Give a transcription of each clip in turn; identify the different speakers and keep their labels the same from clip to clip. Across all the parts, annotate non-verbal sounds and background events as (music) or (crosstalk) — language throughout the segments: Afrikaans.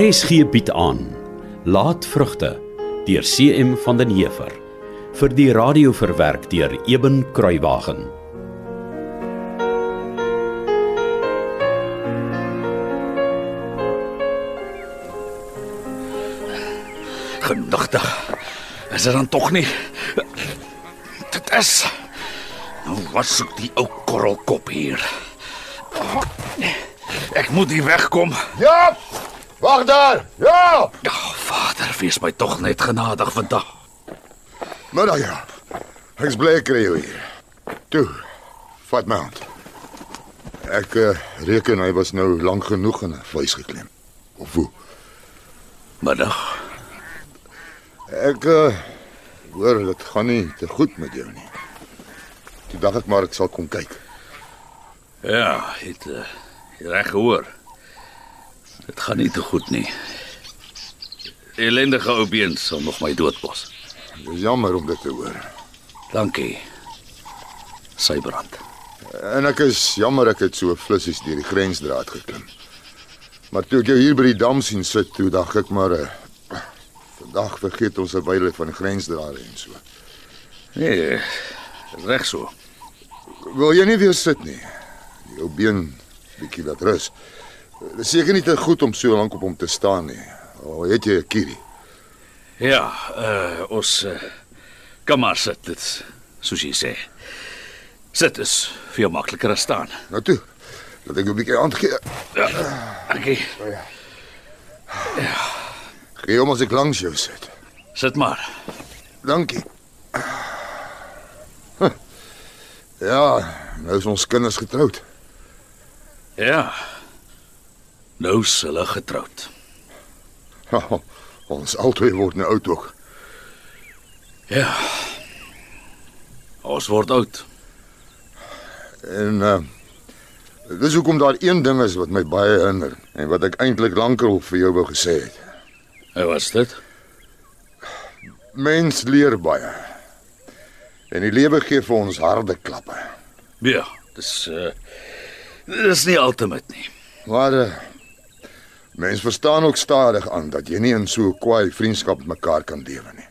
Speaker 1: RSG bied aan Laatvrugte deur CM van den Heever vir die radio verwerk deur Eben Kruiwagen.
Speaker 2: Genigtig. Is dit dan tog nie? Dit is. Nou wat soek die ou korrelkop hier? Ek moet hier wegkom.
Speaker 3: Ja! Wag daar. Ja!
Speaker 2: Ja, Vader, wees my tog net genadig vandag.
Speaker 3: Middag ja. Ek's bly ek kry jou hier. Toe. Vat my hand. Ek uh, reken hy was nou lank genoeg in 'n vleis geklem. Of hoe?
Speaker 2: Middag.
Speaker 3: Ek uh, hoor dit gaan nie te goed met jou nie. Toe dink ek maar ek sal kom kyk.
Speaker 2: Ja, het uh, reg gehoor. Dit gaan nie te goed nie. Elendige ou been sal nog my doodbos.
Speaker 3: Dit is jammer om dit te hoor.
Speaker 2: Dankie. Sy brand.
Speaker 3: En ek is jammer ek het so flissies deur die grensdraad geklim. Maar toe ek jou hier by die dam sien sit, toe dink ek maar uh, vandag vergeet ons 'n wyle van grensdrade en so.
Speaker 2: Nee, is reg so.
Speaker 3: Wil jy nie weer sit nie? Jou been bietjie laat rus. Dit is seker nie te goed om so lank op hom te staan nie. Al het jy 'n kierie.
Speaker 2: Ja, uh ons uh, kan maar sit dit is soos jy sê. Sit is veel makliker as staan. Ja,
Speaker 3: Nou toe. Laat ek jou 'n bietjie aangee.
Speaker 2: Dankie.
Speaker 3: Gee hom as ek langs jou sit.
Speaker 2: Sit maar.
Speaker 3: Dankie. Huh. Ja, nou is ons kinders getroud.
Speaker 2: Ja. Nou is hulle getroud.
Speaker 3: Ja, Ons albei word nou oud ook.
Speaker 2: Ja. Ons word oud.
Speaker 3: En uh dis hoekom daar een ding is wat my baie hinder en wat ek eintlik lankal vir jou wou gesê het.
Speaker 2: En wat is dit?
Speaker 3: Mens leer baie. En die lewe gee vir ons harde klappe.
Speaker 2: Ja, dis uh dis nie ultimate nie.
Speaker 3: Maar uh, mens verstaan ook stadig aan dat jy nie in so 'n kwaai vriendskap met mekaar kan lewe nie.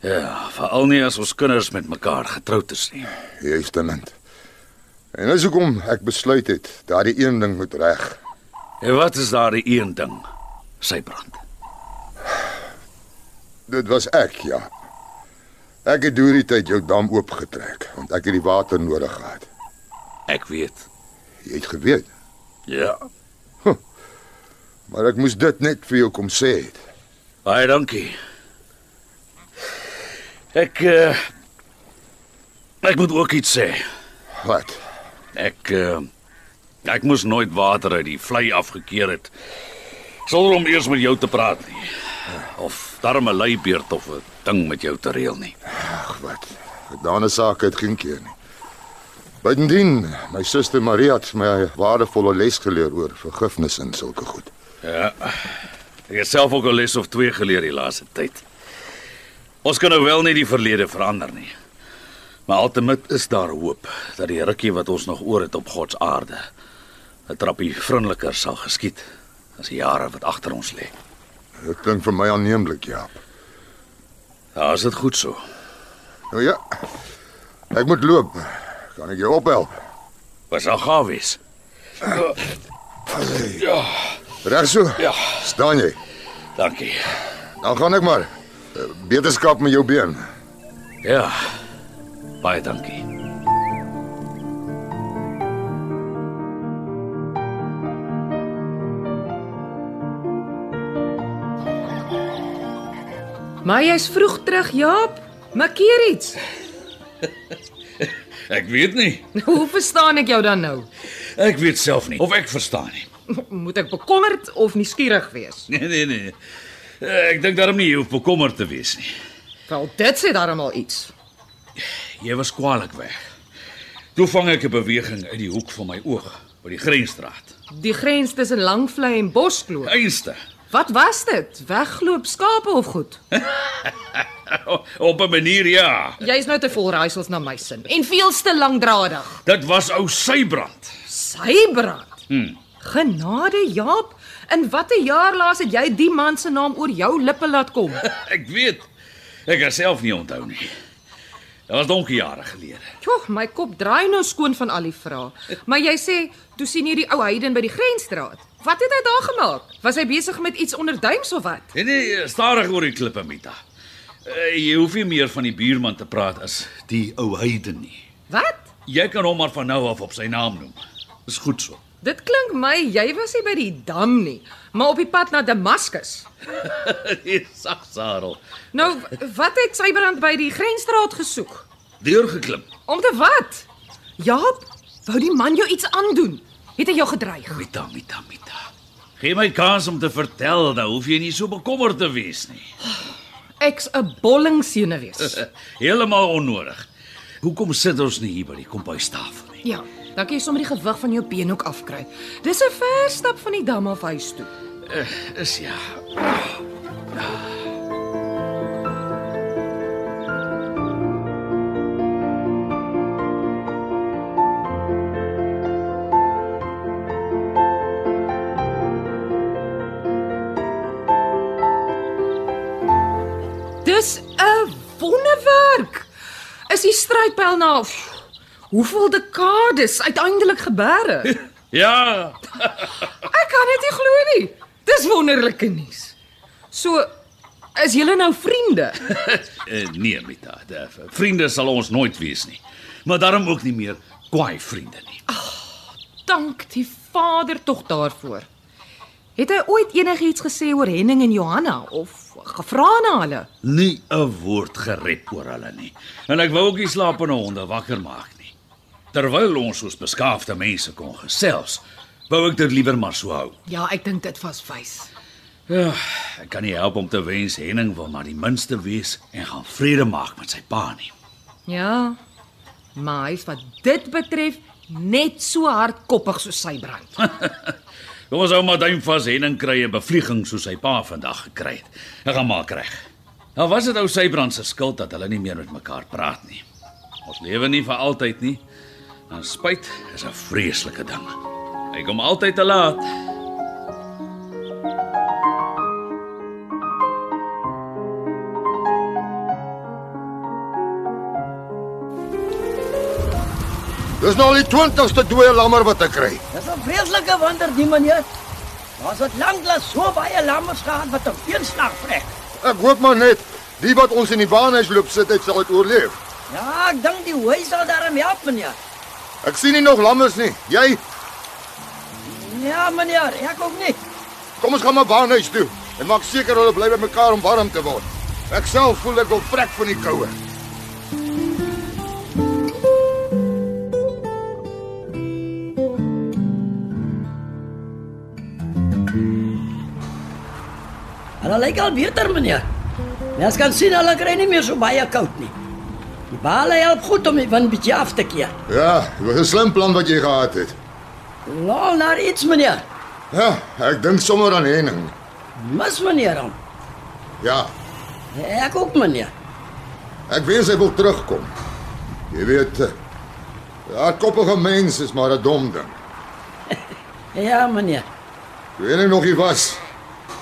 Speaker 2: Ja, veral nie as ons kinders met mekaar getroud is nie.
Speaker 3: Juistement. En dis hoekom ek besluit het daardie een ding moet reg.
Speaker 2: En wat is daar die een ding? Sy brand.
Speaker 3: Dit was ek, ja. Ek het deur die tyd jou dam oopgetrek want ek het die water nodig gehad.
Speaker 2: Ek weet.
Speaker 3: Jy het geweet,
Speaker 2: Ja.
Speaker 3: maar ek moes dit net vir jou kom sê het.
Speaker 2: Baie dankie. Ek uh, ek moet ook iets sê.
Speaker 3: Wat?
Speaker 2: Ek uh, ek moes nooit water uit die vlei afgekeer het sonder om eers met jou te praat nie. Of darm 'n leibeurt of 'n ding met jou te reël nie.
Speaker 3: Ag wat. Gedane sake het geen keer nie. Buitendien, my suster Maria het my 'n waardevolle les geleer oor vergifnis en sulke goed.
Speaker 2: Ja. Ek het self ook 'n les of twee geleer die laaste tyd. Ons kan nou wel nie die verlede verander nie. Maar ultimate is daar hoop dat die rukkie wat ons nog oor het op God se aarde 'n trappie vriendeliker sal geskied as die jare wat agter ons lê.
Speaker 3: Dit klink vir my aanneemlik, ja.
Speaker 2: Ja, is dit goed so.
Speaker 3: Nou ja. Ek moet loop. Kan ek jou ophelp?
Speaker 2: Was al gaaf wees. Ja,
Speaker 3: Reg so.
Speaker 2: ja,
Speaker 3: Staan jy?
Speaker 2: dankie.
Speaker 3: Dan gaan ek maar. Eh, Beterskap met jou been.
Speaker 2: Ja. Baie dankie.
Speaker 4: Maar jy's vroeg terug, Jaap. Maak hier iets. (laughs)
Speaker 2: Ek weet nie.
Speaker 4: Hoe verstaan ek jou dan nou?
Speaker 2: Ek weet self nie of ek verstaan nie.
Speaker 4: Moet ek bekommerd of nuuskierig wees?
Speaker 2: Nee, nee, nee. Ek dink daarom nie jy hoef bekommerd te wees nie.
Speaker 4: Wel, dit sê darem al iets.
Speaker 2: Jy was kwaadlik weg. Toe vang ek 'n beweging uit die hoek van my oog by die grensstraat.
Speaker 4: Die grens tussen Langvlei en Boskloof.
Speaker 2: Einste. (laughs)
Speaker 4: Wat was dit? Wegloop skape of goed?
Speaker 2: Op 'n manier ja.
Speaker 4: Jy's nou te vol raaisels na my sin en veelste lankdradig.
Speaker 2: Dit was ou Sybrand.
Speaker 4: Sybrand. Hm. Genade Jaap, in watter jaar laas het jy die man se naam oor jou lippe laat kom?
Speaker 2: Ek weet. Ek kan self nie onthou nie. Dit was donker jare gelede.
Speaker 4: Tjog, my kop draai nou skoon van al die vrae. Maar jy sê, toe sien hierdie ou heiden by die grensstraat. Wat het hy daar gemaak? Was hy besig met iets onder duims of wat?
Speaker 2: En nee, stadig oor die klippe, Mita. Eh, Jy hoef nie meer van die buurman te praat as die ou heiden nie.
Speaker 4: Wat?
Speaker 2: Jy kan hom maar van nou af op sy naam noem. Dis goed so. (laughs)
Speaker 4: Dit klink my jy was nie by die dam nie, maar op die pad na Damaskus.
Speaker 2: Dis sag Sarel.
Speaker 4: Nou, wat het Sybrand by die grensstraat gesoek?
Speaker 2: Deurgeklim.
Speaker 4: Om te wat? Jaap, wou die man jou iets aandoen? Het hy jou gedreig?
Speaker 2: Mita, Mita, Mita. Gee my kans om te vertel, dan hoef jy nie so bekommerd te wees nie. (laughs)
Speaker 4: Ek's 'n bollingseune wees.
Speaker 2: Heeltemal onnodig. Hoekom sit ons nie hier by die kombuistafel nie?
Speaker 4: Ja, dan kan jy sommer die gewig van jou been ook afkry. Dis 'n ver stap van die dam af huis toe.
Speaker 2: Is ja,
Speaker 4: Dis 'n wonderwerk. Is die strydpyl na pff, hoeveel dekades uiteindelik (laughs) gebeure?
Speaker 2: Ja, (laughs)
Speaker 4: Ek kan dit nie glo nie. Dis wonderlike nuus. So is julle nou (laughs) vriende?
Speaker 2: eh, nee Mita, de- vriende sal ons nooit wees nie. Maar daarom ook nie meer kwaai vriende nie.
Speaker 4: Dank die Vader tog daarvoor. Het hy ooit enigiets gesê oor Henning en Johanna of gevra na hulle?
Speaker 2: Nie 'n woord gerep oor hulle nie. En ek wou ook nie slapende honde wakker maak nie. Terwyl ons soos beskaafde mense kon gesels, wou ek dit liewer maar so hou.
Speaker 4: Ja, ek dink dit was wys.
Speaker 2: Ja, ek kan nie help om te wens Henning wil maar die minste wees en gaan vrede maak met sy pa nie.
Speaker 4: Ja. Maar hy's wat dit betref net so hardkoppig soos sy brand.
Speaker 2: Kom ons hou maar duim vas Henning kry 'n bevlieging soos sy pa vandag gekry het. Ek gaan maak reg. Nou was dit ou Sybrand se skuld dat hulle nie meer met mekaar praat nie. Ons lewe nie vir altyd nie. En spyt is 'n vreeslike ding. Hy kom altyd te laat.
Speaker 3: Dis nou al die 20ste dooie lammer wat ek kry.
Speaker 5: Dis 'n vreeslike wonder die meneer. Ons het lanklaas so baie lammers gehad wat op een slag vrek.
Speaker 3: Ek hoop maar net die wat ons in die waanhuis loop sit, het sal dit oorleef.
Speaker 5: Ja, ek dink die hooi sal daarom help meneer.
Speaker 3: Ek sien nie nog lammers nie. Jy,
Speaker 5: Ja meneer, ek ook nie.
Speaker 3: kom ons gaan maar waanhuis toe en maak seker hulle bly by mekaar om warm te word. Ek self voel ek wil vrek van die koue.
Speaker 5: Hulle lyk al beter meneer. Mens kan sien hulle kry nie meer so baie koud nie. Die bale help goed om die wind bietjie af te keer.
Speaker 3: Ja, dit was 'n slim plan wat jy gehad het.
Speaker 5: Lol na iets meneer.
Speaker 3: Ja, ek dink sommer aan Henning.
Speaker 5: Mis meneer hom.
Speaker 3: Ja,
Speaker 5: Ek ook meneer.
Speaker 3: ek wens hy wil terugkom. Jy weet, 'n koppige mens is maar 'n dom ding.
Speaker 5: Ja meneer.
Speaker 3: Toe Henning nog hier was,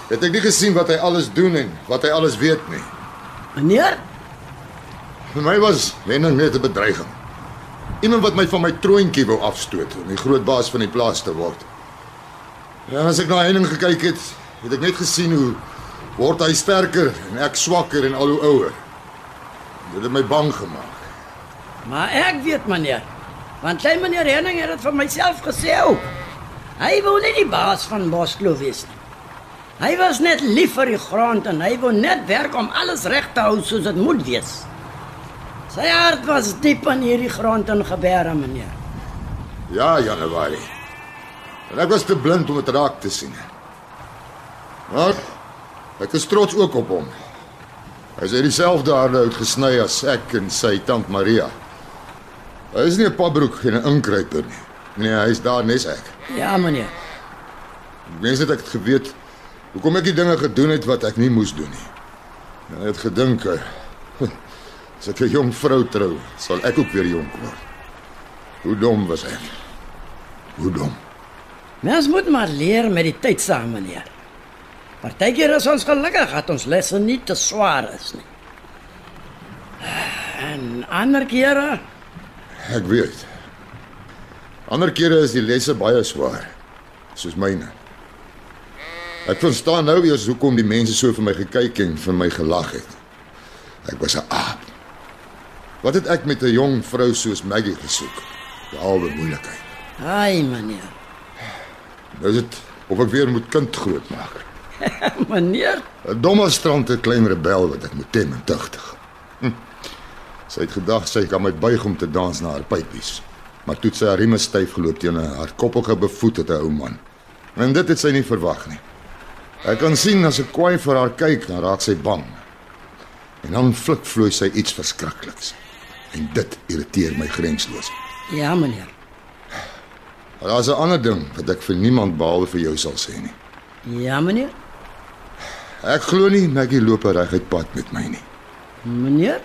Speaker 3: het ek nie gesien wat hy alles doen en wat hy alles weet nie.
Speaker 5: Meneer,
Speaker 3: Vir my was Henning net 'n bedreiging. Iemand wat my van my troontjie wou afstoot om die groot baas van die plaas te word. Ja, as ek na Henning gekyk het, het ek net gesien hoe word hy sterker en ek swakker en al hoe ouer. Dit het my bang gemaak.
Speaker 5: Maar ek weet meneer, want klein meneer Henning het dit vir myself gesê ook. Hy wou nie die baas van Bosklou wees nie. Hy was net lief vir die grond en hy wou net werk om alles reg te hou soos dit moet wees. Sy hart was diep in hierdie grond ingeberre meneer.
Speaker 3: Ja, Januarie. En ek was te blind om dit raak te sien. Maar ek is trots ook op hom. Hy is uit dieselfde aarde uitgesny as ek en sy tant Maria. Hy is nie 'n papbroek en 'n inkruiper nie. Nee, hy is daar nes ek.
Speaker 5: Ja meneer.
Speaker 3: Ek wens net ek het geweet Hoekom ek die dinge gedoen het wat ek nie moes doen nie. En hy het gedink eh, as ek 'n jong vrou trou, sal ek ook weer jonk word. Hoe dom was ek? Hoe dom.
Speaker 5: Mens moet maar leer met die tyd saam, meneer. Partykeer is ons gelukkig dat ons lesse nie te swaar is nie. En ander kere,
Speaker 3: Ek weet. Ander kere is die lesse baie swaar, soos myne. Ek verstaan nou eers hoekom die mense so vir my gekyk en vir my gelag het. Ek was 'n aap. Wat het ek met 'n jong vrou soos Maggie gesoek? Behalwe moeilikheid.
Speaker 5: ai meneer.
Speaker 3: Nou is dit of ek weer moet kind grootmaak.
Speaker 5: Meneer,
Speaker 3: 'n Domme strande klein rebel wat ek moet tem en tugtig. Hm. Sy het gedag sy kan my buig om te dans na haar pypies. Maar toe het sy haar rieme styf geloop teen 'n hardkoppige bevoetete ou man. En dit het sy nie verwag nie. Ek kan sien as ek kwaai vir haar kyk, dan raak sy bang. En dan flik vloei sy iets verskrikliks. En dit irriteer my grensloos.
Speaker 5: ja meneer.
Speaker 3: Maar daar's 'n ander ding wat ek vir niemand behalwe vir jou sal sê nie.
Speaker 5: Ja meneer.
Speaker 3: Ek glo nie Maggie loop 'n reguit pad met my nie.
Speaker 5: Meneer,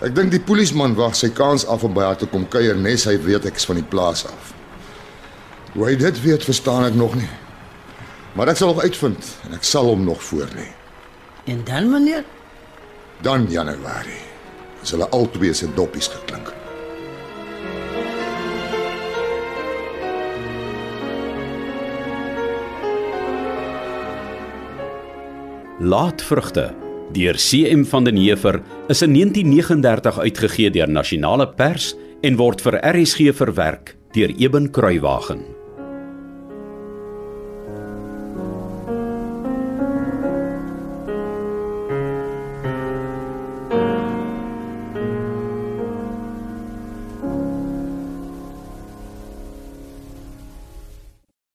Speaker 3: Ek dink die polisieman wag sy kans af om by haar te kom kuier nes hy weet ek's van die plaas af. Hoe hy dit weet, verstaan ek nog nie. Maar ek sal hom uitvind en ek sal hom nog voorlê.
Speaker 5: en dan meneer.
Speaker 3: Dan Januarie. Is hulle albei se doppies geklink.
Speaker 1: Laatvrugte deur CM van den Heever is in 1939 uitgegee deur Nasionale Pers en word vir RSG verwerk deur Eben Kruiwagen.